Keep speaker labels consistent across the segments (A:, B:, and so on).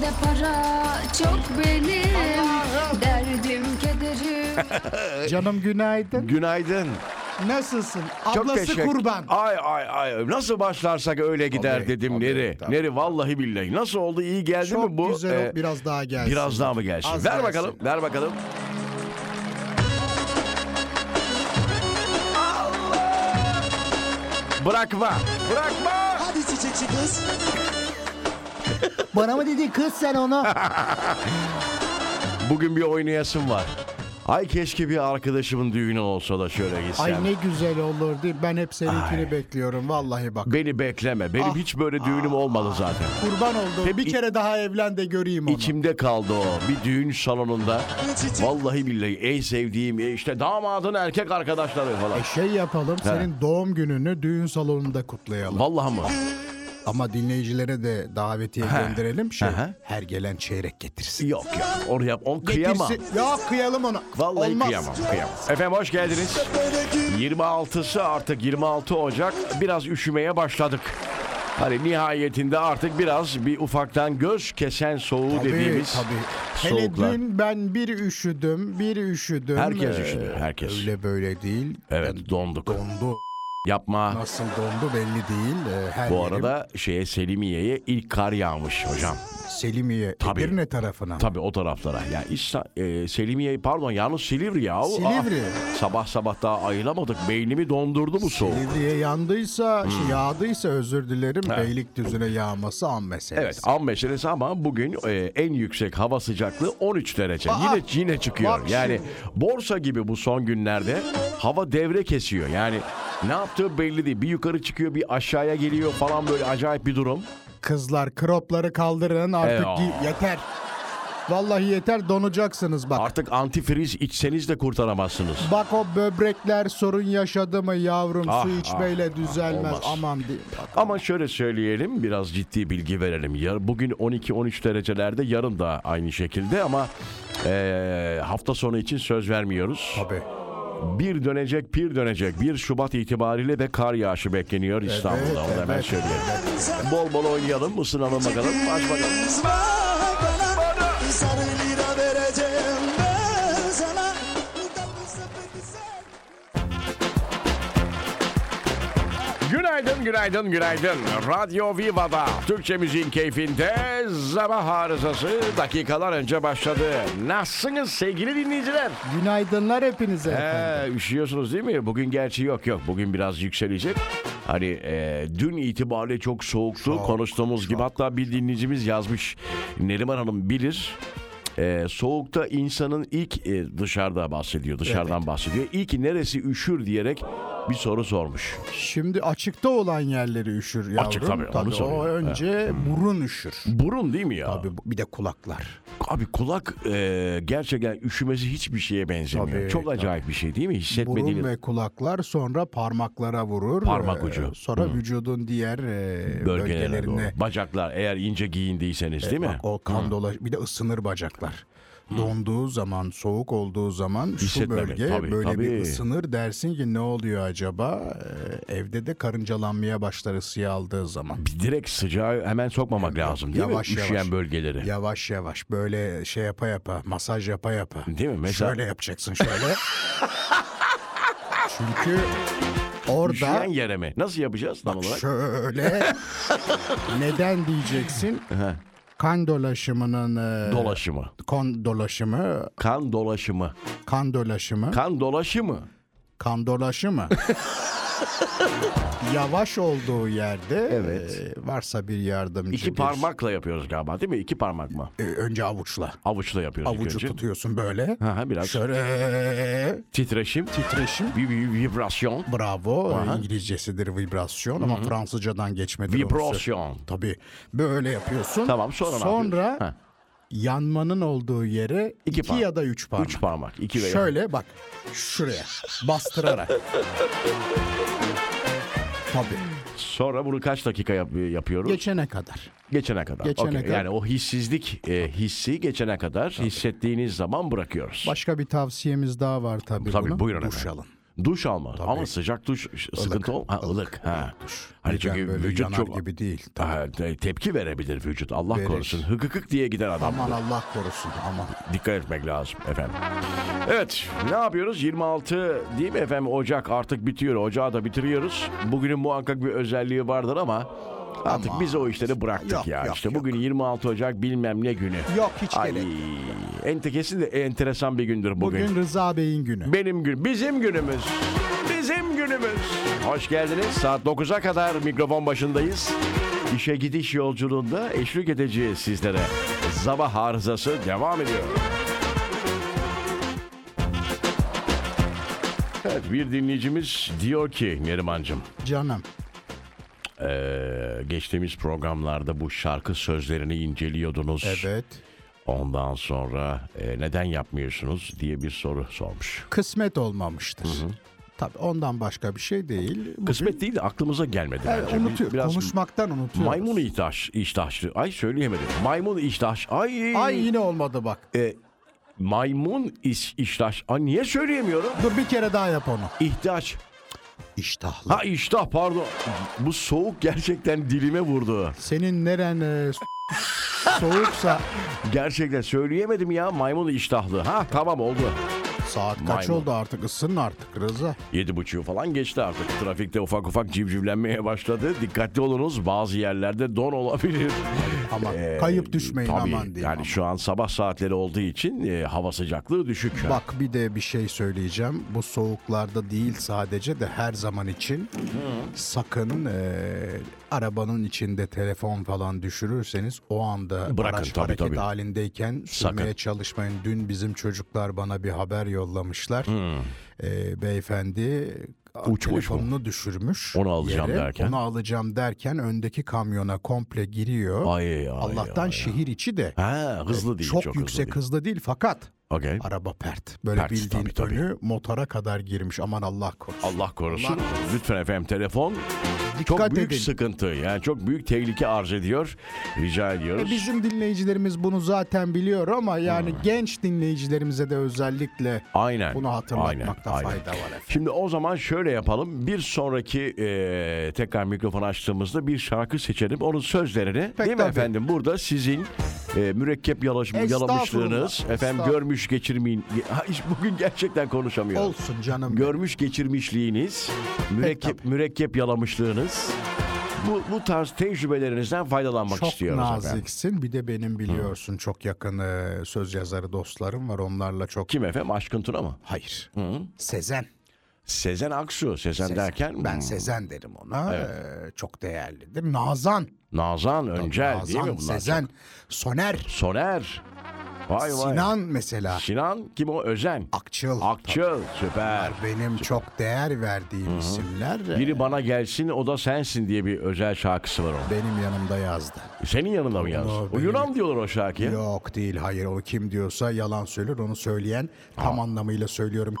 A: ne para çok benim Derdim kederim
B: Canım günaydın.
C: Günaydın.
B: Nasılsın?
C: Çok
B: Ablası
C: teşekkür.
B: kurban.
C: Ay ay ay. Nasıl başlarsak öyle gider
D: Tabii,
C: dedim
D: tabii,
C: Neri.
D: tabii.
C: Neri vallahi billahi. Nasıl oldu? İyi geldi
B: Çok
C: mi bu?
B: güzel
C: Ee,
B: o, biraz daha gelsin.
C: biraz daha mı gelsin?
B: Az
C: ver
B: gelsin.
C: bakalım. Ver bakalım. Allah! Bırakma. Bırakma.
D: Hadi çiçekçi kız.
B: Bana mı dedi kız sen onu?
C: Bugün bir oynayasım var. Ay keşke bir arkadaşımın düğünü olsa da şöyle gitsem.
B: Ay ne güzel olur değil mi? Ben hep seninkini bekliyorum vallahi bak.
C: Beni bekleme.
B: Ah.
C: Benim hiç böyle düğünüm olmadı zaten.
B: Kurban oldum.
C: Hep-
B: bir kere daha evlen de göreyim onu.
C: İçimde kaldı o. Bir düğün salonunda.
D: Çiçek.
C: Vallahi billahi en sevdiğim e, işte damadın erkek arkadaşları falan.
B: E şey yapalım senin doğum gününü düğün salonunda kutlayalım.
C: Vallahi mı?
B: Ama dinleyicilere de davetiye gönderelim şey
C: Aha.
B: her gelen çeyrek getirsin.
C: Yok ya. Oraya on kıyamam.
B: Getirsin. Ya kıyalım ona.
C: Vallahi
B: Olmaz.
C: kıyamam, kıyamam. Efendim hoş geldiniz.
D: Böyle gün.
C: 26'sı artık 26 Ocak. Biraz üşümeye başladık. Hani nihayetinde artık biraz bir ufaktan göz kesen soğuğu
B: Tabii,
C: dediğimiz
B: tabii.
C: soğuklar.
B: Hele dün ben bir üşüdüm, bir üşüdüm.
C: Herkes
B: Ee,
C: üşüdü, herkes.
B: Öyle böyle değil.
C: Evet donduk.
B: Dondu.
C: Yapma.
B: Nasıl dondu belli değil. Ee, Her
C: Bu
B: yerim
C: arada şeye Selimiye'ye ilk kar yağmış hocam.
B: Selimiye,
C: Tabii.
B: Edirne tarafına.
C: Tabii o taraflara. Ya İsta- e, Selimiye pardon yalnız Silivri ya.
B: Silivri.
C: sabah sabah daha ayılamadık. Beynimi dondurdu bu soğuk. Hmm.
B: Silivri'ye yandıysa, şey, yağdıysa özür dilerim. Beylikdüzü'ne yağması an meselesi.
C: Evet an meselesi ama bugün e, en yüksek hava sıcaklığı 13 derece.
B: Aa,
C: yine yine çıkıyor.
B: bak
C: yani borsa gibi bu son günlerde hava devre kesiyor. Yani ne yaptığı belli değil. Bir yukarı çıkıyor bir aşağıya geliyor falan böyle acayip bir durum.
B: Kızlar kropları kaldırın artık
C: Eyvah.
B: gi- yeter. Vallahi yeter donacaksınız bak.
C: Artık antifriz içseniz de kurtaramazsınız.
B: Bak o böbrekler sorun yaşadı mı yavrum
C: Ah,
B: su
C: ah,
B: içmeyle düzelmez.
C: olmaz.
B: Aman diyeyim.
C: Ama şöyle söyleyelim biraz ciddi bilgi verelim. Ya, bugün 12-13 derecelerde yarın da aynı şekilde ama eee, hafta sonu için söz vermiyoruz.
B: Tabii.
C: Bir dönecek bir dönecek 1 Şubat itibariyle de kar yağışı bekleniyor İstanbul'da. Onu hemen
B: evet,
C: söyleyelim. Bol bol oynayalım ısınalım bakalım. Aç bakalım.
D: Kız bak bana. Sarı lira vereceğim ben sana. Tatlı sepeti sen.
C: Günaydın, günaydın, günaydın. Radyo Viva'da Türkçe müziğin keyfinde sabah arızası dakikalar önce başladı. Nasılsınız sevgili dinleyiciler?
B: Günaydınlar hepinize. efendim.
C: Ee, üşüyorsunuz değil mi? Bugün gerçi yok yok. Bugün biraz yükselecek. Hani e, dün itibariyle çok soğuktu konuştuğumuz gibi. Hatta bir dinleyicimiz yazmış. Neriman Hanım bilir. e, soğukta insanın ilk e, dışarıda bahsediyor. Dışarıdan bahsediyor. İlk neresi üşür diyerek bir soru sormuş.
B: Şimdi açıkta olan yerleri üşür yavrum.
C: Açık tabii, onu
B: o
C: soruyor.
B: önce burun üşür.
C: Burun değil mi ya?
B: Abi bu- bir de kulaklar.
C: Abi kulak e, gerçekten üşümesi hiçbir şeye benzemiyor.
B: Tabii,
C: çok acayip bir şey değil mi? Hissetmediğiniz.
B: Burun ve kulaklar sonra parmaklara vurur.
C: Parmak
B: Ee,
C: ucu.
B: Sonra vücudun diğer e,
C: Bölgelere doğru.
B: bölgelerine. E,
C: Bacaklar eğer ince giyindiyseniz değil mi?
B: Bak, o kan dolaş. Bir de ısınır bacaklar. Donduğu zaman, soğuk olduğu zaman şu
C: Hissetmemek,
B: bölge
C: tabii,
B: böyle
C: tabii.
B: bir ısınır dersin ki ne oluyor acaba? Ee, evde de karıncalanmaya başlar ısıya aldığı zaman.
C: direkt sıcağı hemen sokmamak lazım değil
B: Yavaş
C: mi?
B: yavaş.
C: Üşüyen bölgeleri.
B: Yavaş yavaş böyle şey yapa yapa, masaj yapa yapa.
C: Değil mi? Mesela-
B: Şöyle yapacaksın şöyle. Çünkü orada
C: Üşüyen yere mi? Nasıl yapacağız tam olarak?
B: şöyle neden diyeceksin? kan dolaşımının e,
C: Dolaşımı.
B: kon dolaşımı,
C: Kan dolaşımı.
B: kan dolaşımı,
C: Kan dolaşımı.
B: kan dolaşımı. Yavaş olduğu yerde
C: Evet.
B: e, varsa bir yardımcı.
C: İki
B: bir-
C: parmakla yapıyoruz galiba değil mi? İki parmak mı?
B: E, önce avuçla.
C: Avuçla yapıyoruz ilk
B: Avucu
C: önce.
B: tutuyorsun böyle.
C: Ha, ha, biraz.
B: Şöyle
C: Titreşim.
B: titreşim.
C: Vi- vi- Vibrasyon.
B: Bravo.
C: Aha.
B: İngilizcesidir vibrasyon ama Fransızcadan geçmedi. orası.
C: Vibrasyon.
B: Tabii. Böyle yapıyorsun.
C: Tamam sonra ne
B: Sonra
C: yapıyoruz? Ha.
B: yanmanın olduğu yere
C: İki
B: iki,
C: parmak.
B: ya da üç parmak.
C: Üç parmak. iki veya.
B: Şöyle bak şuraya bastırarak. Tabii.
C: Sonra bunu kaç dakika yap- yapıyoruz?
B: Geçene kadar.
C: geçene kadar.
B: Geçene
C: Okey.
B: kadar.
C: Yani o hissizlik e, hissi geçene kadar hissettiğiniz zaman bırakıyoruz.
B: Başka bir tavsiyemiz daha var tabii,
C: Tabii,
B: bunun.
C: buyurun
B: Duş
C: efendim.
B: alın.
C: Duş alma. Ama sıcak duş sıkıntı ol. Ha, ılık. Ha. Hani
B: Birden
C: çünkü
B: böyle
C: vücut
B: yanar
C: çok
B: gibi değil.
C: Ha, te- tepki verebilir vücut. Allah
B: Verir.
C: korusun. Hıkıkık diye gider adam.
B: Aman Allah korusun aman.
C: Dikkat etmek lazım efendim. Evet ne yapıyoruz? 26 değil mi efendim Ocak artık bitiyor. Ocağı da bitiriyoruz. Bugünün muhakkak bir özelliği vardır ama artık biz o işleri bıraktık
B: Yok,
C: ya.
B: yok,
C: işte
B: yok.
C: bugün 26 Ocak bilmem ne günü.
B: Yok, hiç
C: Ay,
B: gerek
C: Entekesin de enteresan bir gündür bugün.
B: Bugün Rıza Bey'in günü.
C: Benim gün, bizim günümüz. Bizim günümüz. Hoş geldiniz. Saat 9'a kadar mikrofon başındayız. İşe gidiş yolculuğunda eşlik edeceğiz sizlere. Sabah arızası devam ediyor. Evet bir dinleyicimiz diyor ki Nerimancığım
B: Canım.
C: eee, geçtiğimiz programlarda bu şarkı sözlerini inceliyordunuz.
B: Evet.
C: Ondan sonra eee, neden yapmıyorsunuz diye bir soru sormuş.
B: Kısmet olmamıştır. Tabii ondan başka bir şey değil. Bugün-
C: Kısmet değil de aklımıza gelmedi.
B: Evet,
C: bence. Bir-
B: unutuyor.
C: Biraz
B: Konuşmaktan unutuyor.
C: maymun ihtaş, iştahçı. Ay söyleyemedim. Maymun iştahş. Ay.
B: Ay yine olmadı bak.
C: E, maymun iş, iştahş. Ay niye söyleyemiyorum?
B: Dur bir kere daha yap onu.
C: İhtaç.
B: İştahlı.
C: Ha iştah pardon. Bu soğuk gerçekten dilime vurdu.
B: Senin neren e, soğuksa
C: Gerçekten söyleyemedim ya maymun iştahlı. Ha tamam oldu.
B: saat kaç
C: Maymun.
B: oldu artık ısın artık Rıza.
C: Yedi buçuğu falan geçti artık. Trafikte ufak ufak civcivlenmeye başladı. Dikkatli olunuz bazı yerlerde don olabilir.
B: Aman
C: Ee,
B: kayıp düşmeyin
C: tabii,
B: aman diyeyim.
C: Yani
B: aman.
C: şu an sabah saatleri olduğu için e, hava sıcaklığı düşük.
B: Bak bir de bir şey söyleyeceğim. Bu soğuklarda değil sadece de her zaman için sakın eee, arabanın içinde telefon falan düşürürseniz o anda
C: Bırakın,
B: araç
C: tabii,
B: hareket
C: tabii.
B: halindeyken sürmeye
C: Sakın.
B: çalışmayın. Dün bizim çocuklar bana bir haber yollamışlar. Eee, beyefendi
C: Uçmuş mu?
B: telefonunu düşürmüş.
C: Onu alacağım
B: yere.
C: derken?
B: Onu alacağım derken öndeki kamyona komple giriyor.
C: Ay, ay,
B: Allah'tan
C: ay.
B: şehir içi de
C: Ha hızlı değil.
B: çok,
C: Çok,
B: yüksek
C: Hızlı
B: hızlı değil, fakat
C: değil. Okay.
B: Araba pert. Böyle
C: Pert,
B: bildiğin
C: tabii, tabii.
B: önü motora kadar girmiş. Aman Allah korusun.
C: Allah korusun.
B: Allah
C: Lütfen efendim telefon.
B: Dikkat
C: çok büyük
B: edin.
C: sıkıntı. Yani çok büyük tehlike arz ediyor. Rica ediyoruz.
B: Bizim dinleyicilerimiz bunu zaten biliyor ama yani genç dinleyicilerimize de özellikle
C: Aynen.
B: bunu hatırlatmakta
C: aynen, aynen.
B: fayda var. Efendim.
C: Şimdi o zaman şöyle yapalım. Bir sonraki e, tekrar mikrofon açtığımızda bir şarkı seçelim. Onun sözlerini
B: Pek
C: değil mi
B: tabii.
C: efendim? Burada sizin e, mürekkep yalaş,
B: Estağfurullah,
C: yalamışlığınız efendim
B: estağfurullah.
C: görmüş geçirmeyin. Ha, hiç bugün gerçekten konuşamıyorum.
B: Olsun canım.
C: Görmüş geçirmişliğiniz, mürekkep
B: tabii.
C: mürekkep yalamışlığınız bu bu tarz tecrübelerinizden faydalanmak
B: çok
C: istiyoruz efendim.
B: naziksin. Bir de benim biliyorsun çok yakın e, söz yazarı dostlarım var. Onlarla çok...
C: Kim efendim? Aşkın Tuna mı?
B: Hayır. Sezen.
C: Sezen Aksu. Sezen, derken
B: Ben
C: hmm,
B: Sezen derim ona. E, çok değerlidir. Nazan.
C: Nazan Öncel
B: Nazan,
C: değil mi bunlar?
B: Sezen. Soner.
C: Soner. Vay vay.
B: Sinan mesela.
C: Sinan kim o? Özen.
B: Akçıl.
C: Akçıl. Süper.
B: Benim çok değer verdiğim isimler
C: Biri bana gelsin o da sensin diye bir özel şarkısı var onun.
B: benim yanımda yazdı.
C: Senin yanında mı yalnız?
B: Onu
C: O
B: benim-
C: Yunan diyorlar o şarkıya.
B: Yok değil hayır o kim diyorsa yalan söyler onu söyleyen tam anlamıyla söylüyorum ki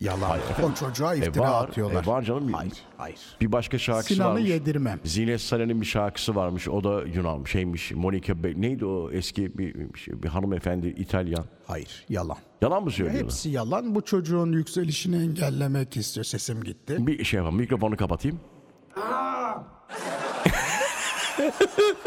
B: yalan. o çocuğa
C: E
B: iftira
C: var.
B: atıyorlar.
C: E var canım.
B: Hayır hayır.
C: Bir başka şarkısı
B: Sinan'ı
C: varmış.
B: yedirmem.
C: Zinet Salen'in bir şarkısı varmış. O da Yunan şeymiş. Monica Be- neydi o eski bir, bir, şey, bir hanımefendi İtalyan.
B: Hayır yalan.
C: Yalan mı söylüyorlar?
B: Hepsi yalan bu çocuğun yükselişini engellemek istiyor sesim gitti.
C: Bir şey yapalım. Mikrofonu kapatayım. E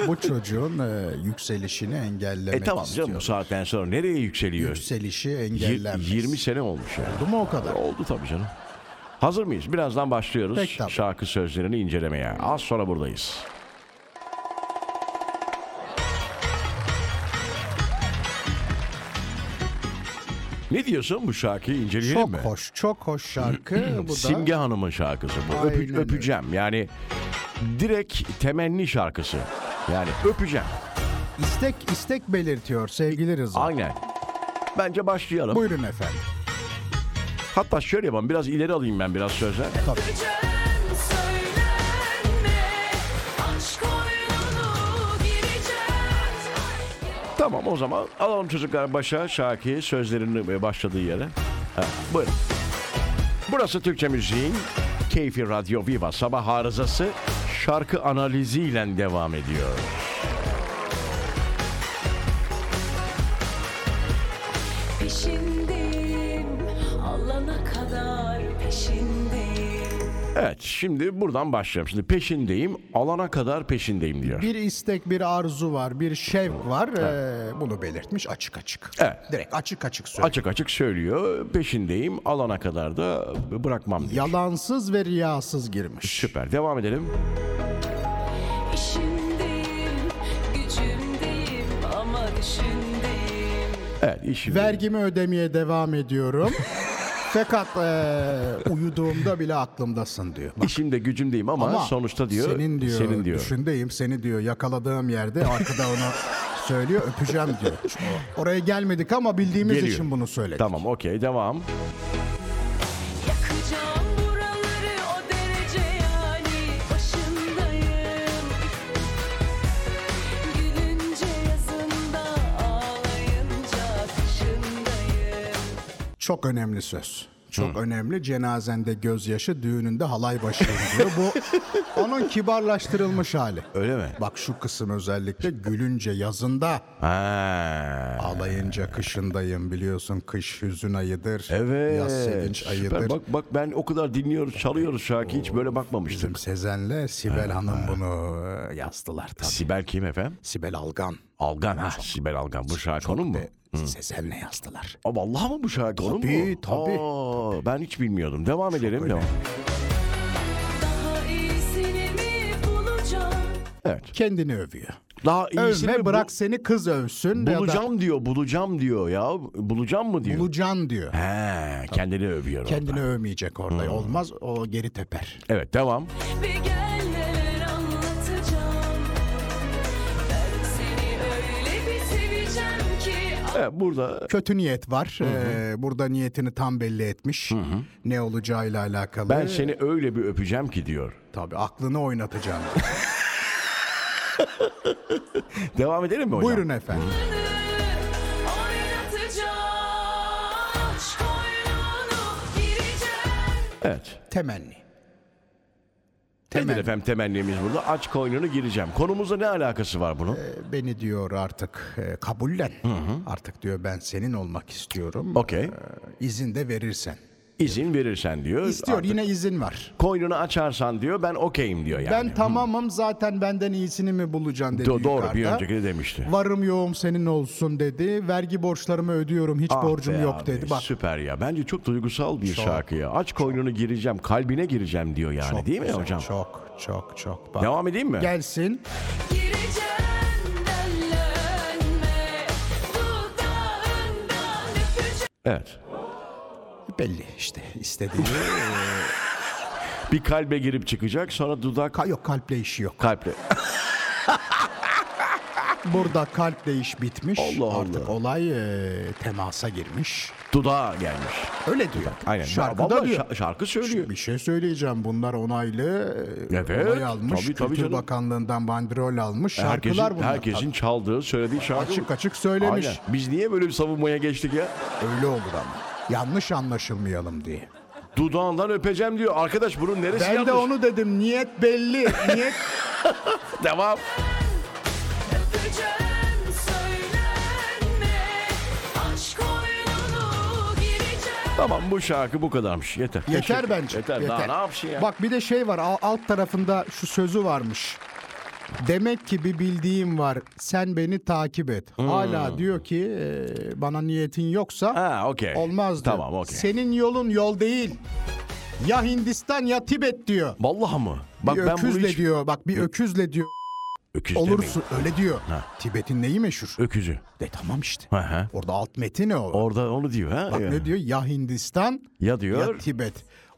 B: bu çocuğun e, yükselişini engellemek
C: E tamam canım bu
B: istiyor.
C: saatten sonra nereye yükseliyor?
B: Yükselişi
C: Yir-
B: engellenmez.
C: 20 sene olmuş yani.
B: oldu mu o kadar?
C: Oldu tabii canım. Hazır mıyız? Birazdan başlıyoruz
B: Peki tabii.
C: şarkı sözlerini incelemeye. Az sonra buradayız. Ne diyorsun bu şarkıyı inceleyelim
B: Çok
C: mi?
B: hoş, çok hoş şarkı. bu da
C: Simge Hanım'ın şarkısı bu. Öpü-
B: Aynen öyle.
C: öpeceğim yani direkt temenni şarkısı. Yani öpeceğim.
B: istek istek belirtiyor sevgili Rıza.
C: Aynen. Bence başlayalım.
B: Buyurun efendim.
C: Hatta şöyle yapalım biraz ileri alayım ben biraz sözler.
E: Öpeceğim söylenme Aşk oyununu gireceğim
C: Tamam o zaman alalım çocuklar başa şarkıyı sözlerinin e, başladığı yere. Ha, buyurun. Burası Türkçe Müziğin Keyfi Radyo Viva sabah arızası şarkı analiziyle devam ediyor.
E: Peşindeyim alana kadar
C: Evet şimdi buradan başlayalım. Şimdi peşindeyim alana kadar peşindeyim diyor.
B: Bir istek, bir arzu var, bir şevk var. Ee, bunu belirtmiş açık açık.
C: Evet.
B: Direkt açık açık söylüyor.
C: Açık açık söylüyor peşindeyim alana kadar da bırakmam diyor.
B: Yalansız ve riyasız girmiş.
C: Süper devam edelim.
E: İşimdeyim, gücümdeyim ama düşündeyim.
C: Evet işim.
B: Vergimi ödemeye devam ediyorum. Fakat ee, uyuduğumda bile aklımdasın diyor. Bak,
C: İşimde gücümdeyim ama, sonuçta diyor
B: senin diyor, düşündeyim seni diyor yakaladığım yerde arkada onu söylüyor öpeceğim diyor. Oraya gelmedik ama bildiğimiz
C: Geliyor.
B: için bunu söyledik.
C: Tamam okey devam.
E: Yakacağım buraları o derece yani başındayım. Gülünce yazında ağlayınca kışındayım.
B: Çok önemli söz. Çok önemli. Cenazende gözyaşı, düğününde halay başı diyor. Bu onun kibarlaştırılmış hali.
C: Öyle mi?
B: Bak şu kısım özellikle gülünce yazında,
C: Ha.
B: ağlayınca kışındayım biliyorsun. Kış hüzün ayıdır.
C: Evet.
B: Yaz sevinç
C: süper.
B: ayıdır.
C: Bak bak ben o kadar dinliyoruz, çalıyoruz şarkı hiç böyle bakmamıştım.
B: Bizim Sezen'le Sibel Hanım bunu e, yazdılar tabii.
C: Sibel kim efendim?
B: Sibel Algan.
C: Algan ha. Sibel Algan bu şarkı onun mu?
B: E, Sezen'le yazdılar.
C: Aa, vallahi mı bu şarkı onun mu?
B: Tabii, tabii,
C: Aa, Ben hiç bilmiyordum. Devam edelim. Devam.
E: Daha iyisini mi bulacağım?
C: Evet.
B: Kendini övüyor.
C: Daha iyisini
B: Övme
C: bu-
B: bırak seni kız övsün. ya da
C: bulacağım diyor, bulacağım diyor ya. Bulacağım mı diyor.
B: Bulacağım diyor.
C: He, kendini övüyor orada.
B: Kendini övmeyecek orada. Olmaz o geri teper.
C: Evet, devam.
E: Bir gel neler anlatacağım. Ben seni öyle bir seveceğim ki
C: Evet, burada
B: Kötü niyet var. Ee, burada niyetini tam belli etmiş. Ne olacağıyla alakalı.
C: ben seni öyle bir öpeceğim ki diyor.
B: Tabii aklını oynatacağım.
C: Devam edelim mi hocam?
B: Buyurun efendim.
E: oynatacağım. Aşk oyununu gireceğim.
C: Evet.
B: Temenni.
C: Nedir
B: Temenni.
C: efendim temennimiz burada? Aç koynunu gireceğim. Konumuzla ne alakası var bunun?
B: Ee, Beni diyor artık e, kabullen. Artık diyor ben senin olmak istiyorum.
C: Okey.
B: İzin de verirsen.
C: İzin verirsen diyor.
B: İstiyor
C: Artık
B: yine izin var.
C: Koynunu açarsan diyor ben okeyim diyor yani.
B: Ben tamamım zaten benden iyisini mi bulacaksın dedi
C: Do- doğru bir
B: yukarıda.
C: önceki de demişti.
B: Varım yoğum senin olsun dedi. Vergi borçlarımı ödüyorum hiç
C: Ah
B: borcum
C: be
B: yok
C: abi,
B: dedi. Bak
C: Süper ya. Bence çok duygusal bir şarkı ya. Aç koynunu gireceğim, kalbine gireceğim diyor yani
B: Çok
C: Hani değil mi
B: güzel,
C: hocam?
B: Çok çok çok. Bak.
C: Devam edeyim mi?
B: Gelsin.
E: Gireceğim dellenme. Dudağından öpeceğim.
C: Evet.
B: Belli işte istediği.
C: Bir kalbe girip çıkacak sonra dudak
B: Ka- yok kalple işi yok.
C: kalple.
B: Burada kalple iş bitmiş.
C: Allah
B: Artık
C: Allah.
B: olay e, temasa girmiş.
C: Dudağa gelmiş.
B: Öyle diyor.
C: Aynen.
B: Şarkıda
C: Vallahi
B: diyor.
C: şa- şarkı söylüyor.
B: Şimdi bir şey söyleyeceğim. Bunlar onaylı e,
C: Evet,
B: onay almış.
C: tabii, tabii
B: Kültür
C: canım. E,
B: Bakanlığından bandrol almış. Şarkılar
C: herkesin,
B: bunlar.
C: herkesin çaldığı, söylediği şarkı.
B: Açık
C: bu.
B: açık söylemiş.
C: Aynen. Biz niye böyle bir savunmaya geçtik ya?
B: Öyle olur ama. Yanlış anlaşılmayalım diye.
C: Dudağından öpeceğim diyor. Arkadaş bunun neresi
B: Ben
C: yanlış?
B: de onu dedim. Niyet belli. Niyet
C: Devam.
E: Öpeceğim söylenme. Aşk oyununu gireceğim.
C: Tamam bu şarkı bu kadarmış. Yeter.
B: Yeter
C: Teşekkür-
B: bence.
C: Yeter. Daha ne yapsın ya?
B: Bak bir de şey var al- alt tarafında şu sözü varmış. Demek ki bir bildiğim var. Sen beni takip et. Hala diyor ki e, bana niyetin yoksa
C: Hmm. Ha okey.
B: olmaz diyor.
C: Tamam okey.
B: Senin yolun yol değil. Ya Hindistan ya Tibet diyor.
C: Vallahi mı? Bak
B: bir
C: ben bunu
B: öküzle
C: hiç...
B: diyor. Bak bir öküzle diyor.
C: Öküz
B: Olursun
C: demeyin.
B: öyle diyor.
C: Ha.
B: Tibet'in neyi meşhur?
C: Öküzü.
B: De tamam işte.
C: Hı hı.
B: Orada alt metni ne o?
C: Orada onu diyor ha.
B: Bak
C: ya.
B: ne diyor? Ya Hindistan
C: Ya diyor.
B: ya Tibet.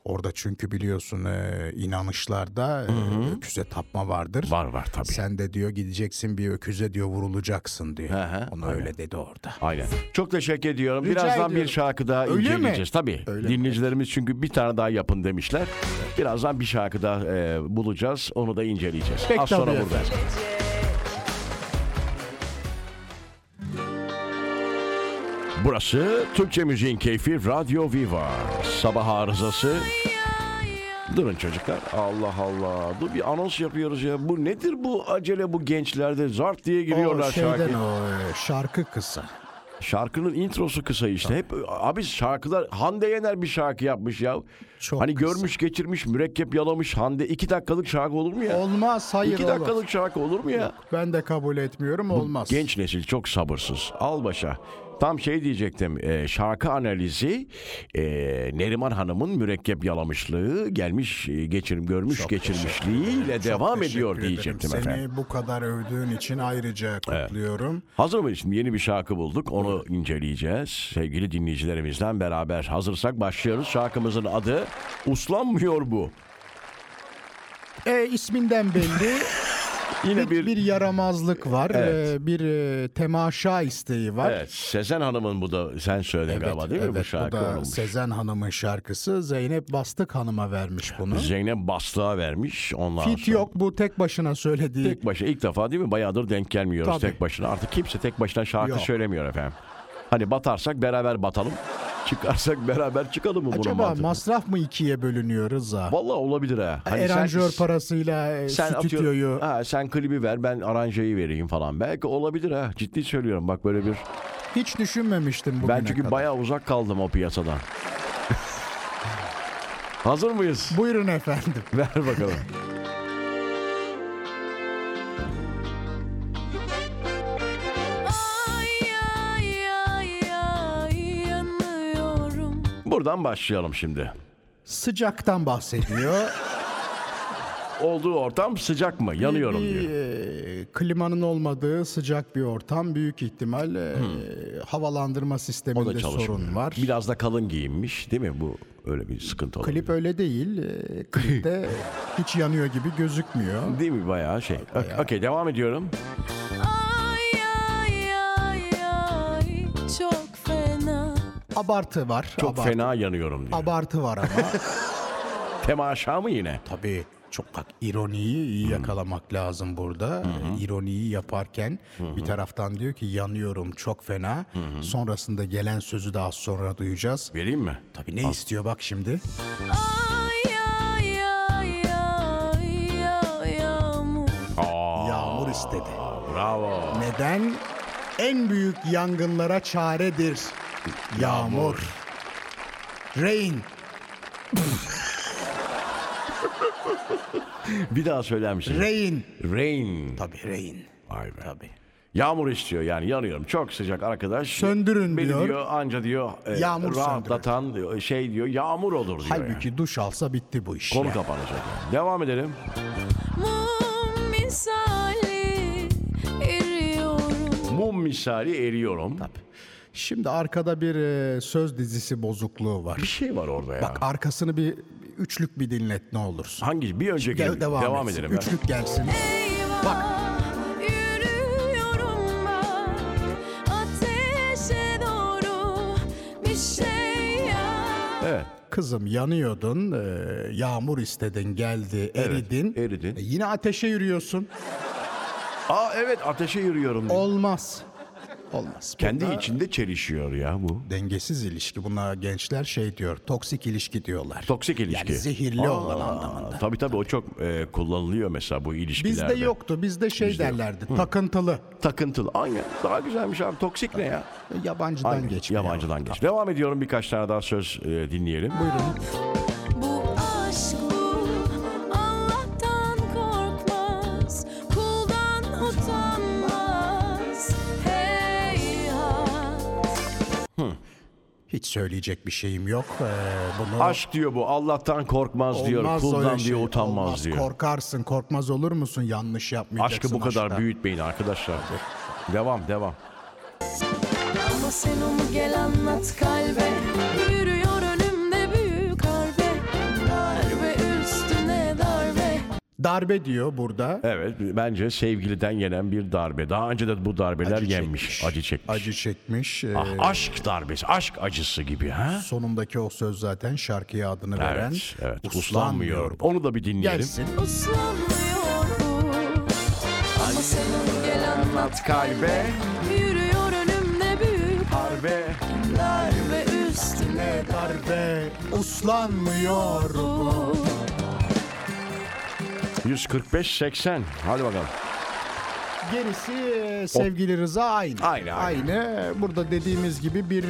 B: Orada çünkü biliyorsun e, inanışlarda e, öküze tapma vardır.
C: Var var tabii.
B: Sen de diyor gideceksin bir öküze diyor vurulacaksın diyor.
C: Aha,
B: Onu
C: aynen.
B: öyle dedi orada.
C: Aynen. Çok teşekkür ediyorum.
B: Rica
C: Birazdan bir
B: ediyorum.
C: şarkı daha
B: Öyle mi?
C: inceleyeceğiz. Tabii.
B: Öyle mi?
C: Dinleyicilerimiz çünkü bir tane daha yapın demişler. Birazdan bir şarkı daha e, bulacağız. Onu da inceleyeceğiz.
B: Peki,
C: Az sonra
B: tabii
C: buradayız. Burası Türkçe Müziğin Keyfi Radyo Viva. Sabah arızası. Durun çocuklar. Allah Allah. Dur bir anons yapıyoruz ya. Bu nedir bu acele bu gençlerde? Zart diye
B: O
C: giriyorlar
B: şeyden
C: şarkı.
B: o e, şarkı kısa.
C: Şarkının introsu kısa işte. Hep abi şarkılar Hande Yener bir şarkı yapmış ya.
B: Çok
C: hani
B: kısa.
C: görmüş geçirmiş mürekkep yalamış Hande iki dakikalık şarkı olur mu ya?
B: Olmaz hayır
C: iki
B: olur.
C: dakikalık şarkı olur mu ya?
B: Ben de kabul etmiyorum olmaz.
C: Genç nesil çok sabırsız. Al başa. Tam şey diyecektim. e, şarkı analizi e, Neriman Hanım'ın mürekkep yalamışlığı gelmiş e, geçirim görmüş geçirmişliğiyle devam
B: Teşekkür
C: ediyor
B: ederim.
C: diyecektim
B: Seni
C: efendim.
B: bu kadar övdüğün için ayrıca kutluyorum.
C: Hazır mıyız? Şimdi yeni bir şarkı bulduk. Onu inceleyeceğiz. Sevgili dinleyicilerimizden beraber hazırsak başlıyoruz. Şarkımızın adı Uslanmıyor Bu.
B: E, isminden belli
C: Yine
B: bir,
C: bir...
B: bir yaramazlık var.
C: Evet.
B: e, bir e, temaşa isteği var.
C: Evet. Sezen Hanım'ın bu da sen söyle galiba değil mi bu
B: evet,
C: şarkı?
B: da
C: onun?
B: Sezen Hanım'ın şarkısı. Zeynep Bastık Hanım'a vermiş bunu.
C: Zeynep Bastığa vermiş. Ondan
B: Fit
C: sonra-
B: yok bu tek başına söylediği.
C: Tek başına ilk defa değil mi? Bayağıdır denk gelmiyoruz
B: Tabii.
C: tek başına. Artık kimse tek başına şarkı
B: Yok.
C: söylemiyor efendim. Hani batarsak beraber batalım. Çıkarsak beraber çıkalım mı bunun
B: Acaba
C: mantığı?
B: masraf mı ikiye bölünüyor Rıza?
C: Vallahi olabilir ha. Hani sen-
B: Eranjör parasıyla e, stüdyoyu.
C: atıyor- ha, sen klibi ver ben aranjeyi vereyim falan. Belki olabilir ha. Ciddi söylüyorum bak böyle bir.
B: Hiç düşünmemiştim bugüne
C: ben çünkü
B: kadar.
C: bayağı uzak kaldım o piyasadan. Hazır mıyız?
B: Buyurun efendim.
C: Ver bakalım.
E: Ay ay ay ay yanıyorum
C: Buradan başlayalım şimdi.
B: Sıcaktan bahsediyor.
C: Olduğu ortam sıcak mı? Yanıyorum
B: bir,
C: diyor.
B: e, klimanın olmadığı sıcak bir ortam büyük ihtimal e, havalandırma
C: Hmm. O da
B: sisteminde
C: çalışmıyor.
B: sorun var.
C: Biraz da kalın giyinmiş değil mi? Bu öyle bir sıkıntı olabilir.
B: Klip öyle değil. E, klipte hiç yanıyor gibi gözükmüyor.
C: Değil mi bayağı şey. Ok- Okey devam ediyorum.
E: Ay ay ay ay çok fena
B: Abartı var.
C: Çok
B: abartı.
C: fena yanıyorum diyor.
B: Abartı var ama.
C: Temaşa mı yine?
B: Tabii çok bak ironiyi
C: Hmm.
B: iyi yakalamak lazım burada. İroniyi yaparken
C: Hmm.
B: bir taraftan diyor ki yanıyorum çok fena. Sonrasında gelen sözü daha sonra duyacağız.
C: Vereyim mi?
B: Tabii ne istiyor bak şimdi?
E: Ay ay ay ay ay yağmur
C: Aa,
B: Yağmur istedi.
C: bravo.
B: Neden? En büyük yangınlara çaredir. Yağmur. Rain.
C: Bir daha söyler misin?
B: Rain.
C: Rain.
B: Tabii rain.
C: Vay be. Yağmur istiyor yani yanıyorum. Çok sıcak arkadaş.
B: Söndürün
C: Beni
B: diyor.
C: anca diyor e,
B: Yağmur
C: rahatlatan diyor, şey diyor yağmur olur diyor. yani.
B: Halbuki duş alsa bitti bu iş.
C: Konu
B: ya.
C: kapanacak. yani. Devam edelim.
E: Mum misali eriyorum
C: Mum misali eriyorum.
B: Şimdi arkada bir e, söz dizisi bozukluğu var.
C: Bir şey var orada ya.
B: Bak arkasını bir bir üçlük bir dinlet ne olursun.
C: Hangi? Bir önceki.
B: Gel devam,
C: devam
B: etsin.
C: edelim. ya.
B: Üçlük gelsin.
E: Eyvah
B: Bak.
E: yürüyorum ben ateşe doğru bir şey yap
C: Evet.
B: Kızım yanıyordun, e, yağmur istedin, geldi, eridin.
C: eridin.
B: E, Yine ateşe yürüyorsun.
C: Aa evet ateşe yürüyorum. diyor.
B: Olmaz. Olmaz.
C: Kendi
B: Bunda
C: içinde çelişiyor ya bu.
B: dengesiz ilişki. Buna gençler şey diyor, toksik ilişki diyorlar.
C: Toksik ilişki.
B: Yani zehirli olan anlamında.
C: Tabii tabii o çok e, kullanılıyor mesela bu ilişkilerde.
B: Bizde yoktu. Bizde şey derlerdi. Takıntılı.
C: Takıntılı. Aynen. Daha güzelmiş abi. Toksik ne ya?
B: E, Yabancıdan
C: Aynen.
B: geçmiyor.
C: Yabancıdan geç. Devam ediyorum birkaç tane daha söz e, dinleyelim.
E: Bu aşk bu Allah'tan korkmaz Kuldan utanmaz Heyhat
B: Hiç söyleyecek bir şeyim yok. E, bunu
C: Aşk diyor bu. Allah'tan korkmaz diyor.
B: öyle
C: Kuldan diyor
B: şey,
C: utanmaz
B: olmaz.
C: diyor.
B: Korkarsın, korkmaz olur musun? Yanlış yapmayacaksın.
C: Aşkı bu kadar
B: aşkta.
C: büyütmeyin arkadaşlar. devam devam.
E: Ama sen onu gel anlat kalbe Yürüyor önümde büyük harbe Darbe üstüne darbe
B: Darbe diyor burada.
C: Evet bence sevgiliden yenen bir darbe. Daha önce de bu darbeler yenmiş. Acı çekmiş.
B: Acı çekmiş. Ee,
C: Ah, aşk darbesi, aşk acısı gibi ha?
B: sonundaki o söz zaten şarkıya adını veren.
C: Evet, evet.
B: "Uslanmıyor
C: Uslanmıyor.
B: bu."
C: Onu da bir dinleyelim.
B: Gelsin.
E: Uslanmıyor bu Ama sen onu gel anlat
C: Kalbe,
E: Yürüyor önümde büyük
C: darbe.
E: darbe üstüne
B: Darbe uslanmıyor bu.
C: 145-80. Hadi bakalım.
B: Gerisi e, sevgili Rıza aynı.
C: Aynı, aynı.
B: Aynı. Burada dediğimiz gibi bir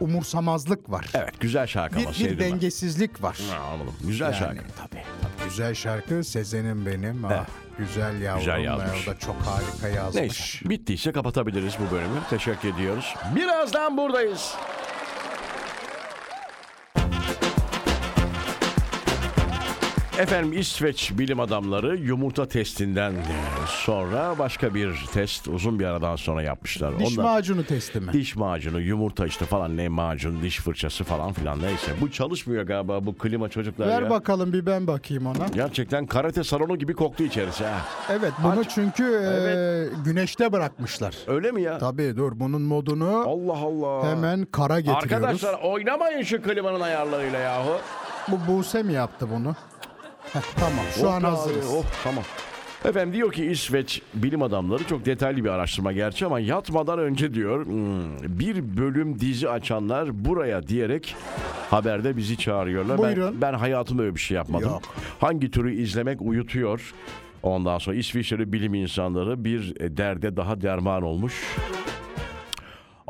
B: umursamazlık var.
C: Evet güzel şarkı
B: Bir,
C: ama
B: bir
C: sevdim ben.
B: dengesizlik var.
C: Ha, anladım. Güzel şarkı.
B: Tabii. Güzel şarkı Sezen'im benim. Ah, güzel yavrum.
C: Güzel yazmış.
B: O da çok harika yazmış.
C: Neyse bittiyse kapatabiliriz bu bölümü. Teşekkür ediyoruz. Birazdan buradayız. Efendim İsveç bilim adamları yumurta testinden e, sonra başka bir test uzun bir aradan sonra yapmışlar.
B: Diş
C: Onlar-
B: macunu testi mi?
C: Diş macunu, yumurta işte falan ne macun, diş fırçası falan filan neyse. Bu çalışmıyor galiba bu klima çocuklar
B: Ver
C: ya.
B: bakalım bir ben bakayım ona.
C: Gerçekten karate salonu gibi koktu içerisi ha.
B: Evet bunu çünkü e, güneşte bırakmışlar.
C: Öyle mi ya?
B: Tabii dur bunun modunu
C: Allah Allah.
B: hemen kara getiriyoruz.
C: Arkadaşlar oynamayın şu klimanın ayarlarıyla yahu.
B: Bu Buse mi yaptı bunu? Heh, tamam şu
C: Oh
B: an
C: be abi,
B: hazırız.
C: Oh tamam. Efendim diyor ki İsveç bilim adamları çok detaylı bir araştırma gerçi ama yatmadan önce diyor "Hmm, bir bölüm dizi açanlar buraya diyerek haberde bizi çağırıyorlar.
B: Buyurun.
C: Ben, ben hayatımda öyle bir şey yapmadım.
B: Yok.
C: Hangi türü izlemek uyutuyor? Ondan sonra İsviçreli bilim insanları bir e, derde daha derman olmuş.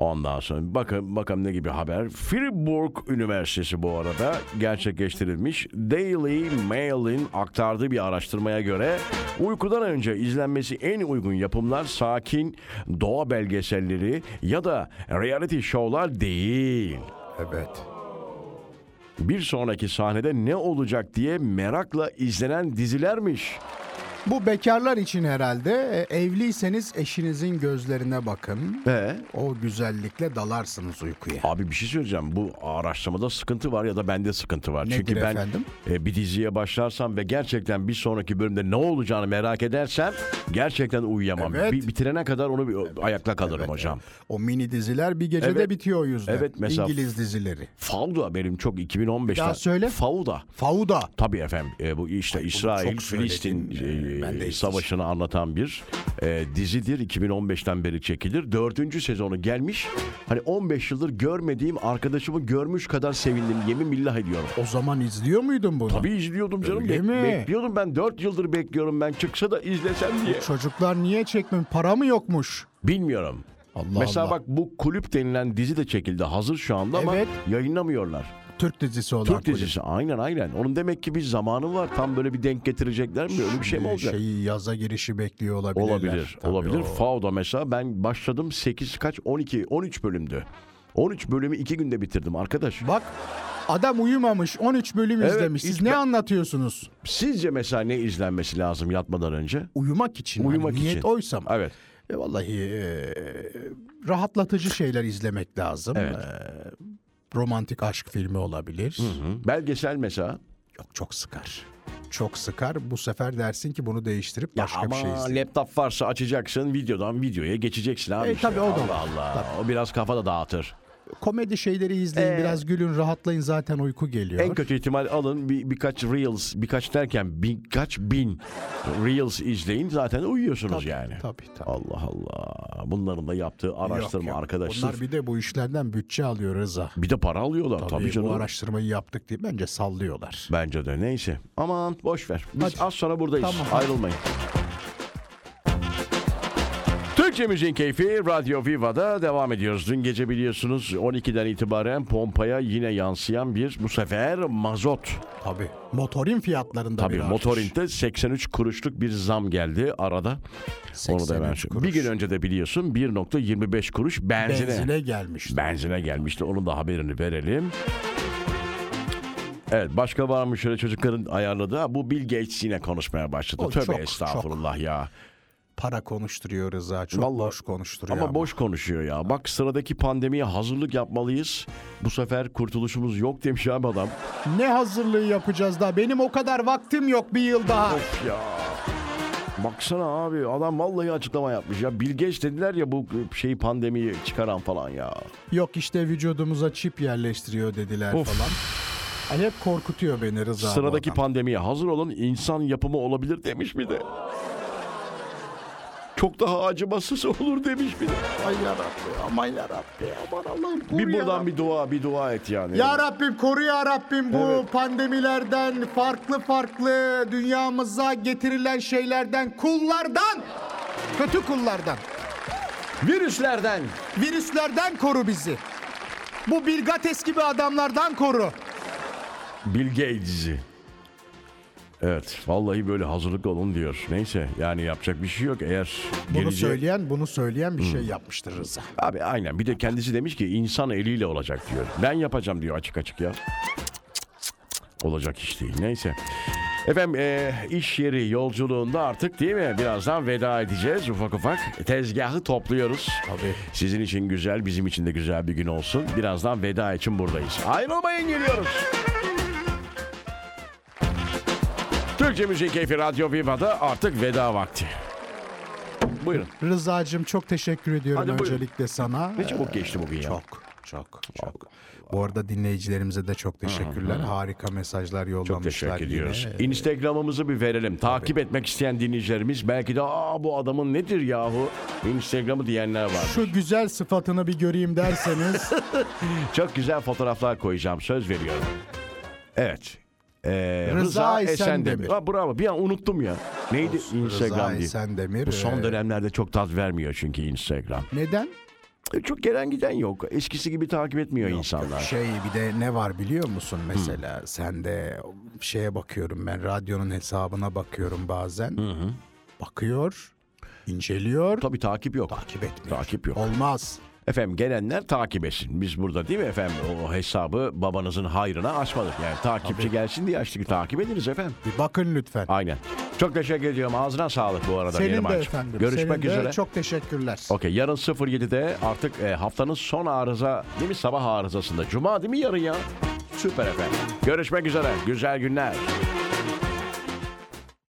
C: Ondan sonra bakın bakalım ne gibi haber. Fribourg Üniversitesi bu arada gerçekleştirilmiş Daily Mail'in aktardığı bir araştırmaya göre uykudan önce izlenmesi en uygun yapımlar sakin doğa belgeselleri ya da reality show'lar değil.
B: Evet.
C: Bir sonraki sahnede ne olacak diye merakla izlenen dizilermiş.
B: Bu bekarlar için herhalde e, evliyseniz eşinizin gözlerine bakın.
C: Ve
B: O güzellikle dalarsınız uykuya.
C: Abi bir şey söyleyeceğim. Bu araştırmada sıkıntı var ya da bende sıkıntı var.
B: Nedir
C: Çünkü ben
B: efendim?
C: e, bir diziye başlarsam ve gerçekten bir sonraki bölümde ne olacağını merak edersem gerçekten uyuyamam.
B: Evet.
C: Bir bitirene kadar onu bir ayakta kalırım hocam.
B: O mini diziler bir gecede
C: Evet.
B: bitiyor o yüzden.
C: Evet, mesela-
B: İngiliz dizileri.
C: Fauda benim çok 2015'ten.
B: daha söyle.
C: Fauda.
B: Fauda.
C: Tabii efendim. E, bu işte İsrail
B: çok söyledin.
C: Filistin
B: Ee,
C: e,
B: ben de hiç-
C: savaşını anlatan bir e, dizidir. 2015'ten beri çekilir. Dördüncü sezonu gelmiş. Hani 15 yıldır görmediğim arkadaşımı görmüş kadar sevindim. Yemin billah ediyorum.
B: O zaman izliyor muydun bunu?
C: Tabii izliyordum canım.
B: Öyle
C: Bek-
B: mi?
C: Bekliyordum ben 4 yıldır bekliyorum ben çıksa da izlesem diye.
B: Çocuklar niye çekmiyor? Para mı yokmuş?
C: Bilmiyorum.
B: Allah
C: Mesela
B: Allah.
C: bak bu kulüp denilen dizi de çekildi. Hazır şu anda ama
B: Evet.
C: yayınlamıyorlar.
B: Türk dizisi olan.
C: Türk dizisi aynen aynen. Onun demek ki bir zamanı var. Tam böyle bir denk getirecekler mi? Öyle bir şey mi olacak?
B: Şeyi yaza girişi bekliyor olabilirler.
C: olabilir.
B: Tabii
C: olabilir.
B: o-
C: Fauda mesela ben başladım 8 kaç 12 13 bölümdü. 13 bölümü 2 günde bitirdim arkadaş.
B: Bak adam uyumamış 13 bölüm
C: Evet,
B: izlemiş. Siz
C: hiç
B: ne
C: ben-
B: anlatıyorsunuz?
C: Sizce mesela ne izlenmesi lazım yatmadan önce?
B: Uyumak için. hani
C: Uyumak için.
B: Niyet oysa mı?
C: Evet.
B: E, vallahi e, rahatlatıcı şeyler izlemek lazım.
C: Evet.
B: E, romantik aşk filmi olabilir.
C: Hı? Belgesel mesela.
B: Yok çok sıkar. Çok sıkar. Bu sefer dersin ki bunu değiştirip başka
C: Ama
B: bir şey izle.
C: laptop varsa açacaksın videodan videoya geçeceksin abi.
B: E,
C: işte.
B: tabii o da var.
C: Allah Allah. O biraz kafa da dağıtır.
B: Komedi şeyleri izleyin, biraz gülün, rahatlayın zaten uyku geliyor.
C: Ee, En kötü ihtimal alın bir, birkaç reels, birkaç derken birkaç bin reels izleyin zaten uyuyorsunuz yani.
B: Tabii tabii.
C: Allah Allah. Bunların da yaptığı araştırma
B: Yok, yok.
C: arkadaşlar.
B: Bunlar bir de bu işlerden bütçe alıyor Rıza.
C: Bir de para alıyorlar tabii,
B: Tabii
C: canım.
B: bu araştırmayı yaptık diye bence sallıyorlar.
C: Bence de neyse. Aman boş ver. Biz
B: Hadi.
C: az sonra buradayız.
B: Tamam, hadi.
C: Ayrılmayın. Türkçe Müziğin Keyfi Radyo Viva'da devam ediyoruz. Dün gece biliyorsunuz 12'den itibaren pompaya yine yansıyan bir bu sefer mazot.
B: Tabii. Motorin fiyatlarında
C: Tabii
B: bir artış.
C: motorinte 83 kuruşluk bir zam geldi arada. Onu da hemen
B: 83
C: Bir gün önce de biliyorsun 1.25 kuruş benzine. benzine.
B: benzine gelmiş.
C: gelmişti. Onun da haberini verelim. Evet başka var mı şöyle çocukların ayarladığı? Ha, Bu Bill Gates yine konuşmaya başladı.
B: O
C: Tövbe
B: çok,
C: estağfurullah ya.
B: Para konuşturuyor Rıza. Çok
C: Vallahi-
B: boş konuşturuyor.
C: Ama boş konuşuyor ya. Bak sıradaki pandemiye hazırlık yapmalıyız. Bu sefer kurtuluşumuz yok demiş abi adam.
B: Ne hazırlığı yapacağız daha? Benim o kadar vaktim yok bir yıl daha.
C: Ya baksana abi adam vallahi açıklama yapmış ya. Bilgeç dediler ya bu şeyi pandemiyi çıkaran falan ya.
B: Yok işte vücudumuza çip yerleştiriyor dediler
C: Of.
B: falan. Ay hep korkutuyor beni Rıza. bu
C: Sıradaki
B: adam.
C: pandemiye hazır olun insan yapımı olabilir demiş bir de. Çok daha acımasız olur demiş bir de.
B: Ay yarabbi, aman yarabbi, aman Allah'ım koru
C: Bir buradan
B: yarabbi.
C: bir dua bir dua et yani.
B: Ya Rabbim koru ya Rabbim bu pandemilerden farklı farklı dünyamıza getirilen şeylerden kullardan Kötü kullardan,
C: Virüslerden.
B: virüslerden koru bizi. Bu Bill Gates gibi adamlardan koru.
C: Bill Gates'i. Evet vallahi böyle hazırlıklı olun diyor. Neyse yani yapacak bir şey yok eğer
B: Bunu
C: gelecek-
B: söyleyen, bunu söyleyen bir şey yapmıştır Rıza.
C: Abi aynen bir de kendisi demiş ki insan eliyle olacak diyor. Ben yapacağım diyor açık açık ya. Olacak iş değil neyse. Efendim e, iş yeri yolculuğunda artık değil mi? Birazdan veda edeceğiz ufak ufak. Tezgahı topluyoruz. Tabii. Sizin için güzel, bizim için de güzel bir gün olsun. Birazdan veda için buradayız. Ayrılmayın geliyoruz. Türkçe Müzik Keyfi Radyo Viva'da artık veda vakti. Buyurun.
B: Rızacığım çok teşekkür ediyorum
C: Hadi buyurun.
B: öncelikle sana.
C: Ne çabuk geçti bugün ya.
B: Çok, çok, çok. Bu arada dinleyicilerimize de çok teşekkürler. Harika mesajlar
C: Çok
B: yollamışlar.
C: teşekkür
B: yine.
C: ediyoruz. Instagram'ımızı bir verelim. Takip etmek isteyen dinleyicilerimiz belki de aa bu adamın nedir yahu Instagram'ı diyenler var.
B: Şu güzel sıfatını bir göreyim derseniz.
C: Çok güzel fotoğraflar koyacağım söz veriyorum. Evet. Ee, Rıza,
B: Rıza
C: Esendemir.
B: Esendemir.
C: Ha, bravo bir an unuttum ya. Neydi Instagram
B: Rıza
C: diye.
B: Esendemir.
C: Bu son
B: e,
C: dönemlerde çok tat vermiyor çünkü Instagram.
B: Neden?
C: E, Çok gelen giden yok. Eskisi gibi takip etmiyor insanlar.
B: Şey bir de ne var biliyor musun mesela sen de şeye bakıyorum ben radyonun hesabına bakıyorum bazen. Bakıyor, inceliyor,
C: Tabii takip yok.
B: takip etmiyor.
C: Takip yok.
B: Olmaz.
C: Efendim gelenler takip etsin. Biz burada değil mi efendim o hesabı babanızın hayrına açmadık. Yani takipçi gelsin diye açtık. Takip ediniz efendim.
B: Bir bakın lütfen.
C: Aynen. Çok teşekkür ediyorum. Ağzına sağlık bu arada.
B: Senin de
C: Neriman'cığım.
B: efendim.
C: Görüşmek
B: senin de
C: üzere.
B: çok teşekkürler.
C: Okey yarın 07'de artık e, haftanın son arıza değil mi sabah arızasında. Cuma değil mi yarın ya? Süper efendim. Görüşmek üzere. Güzel günler.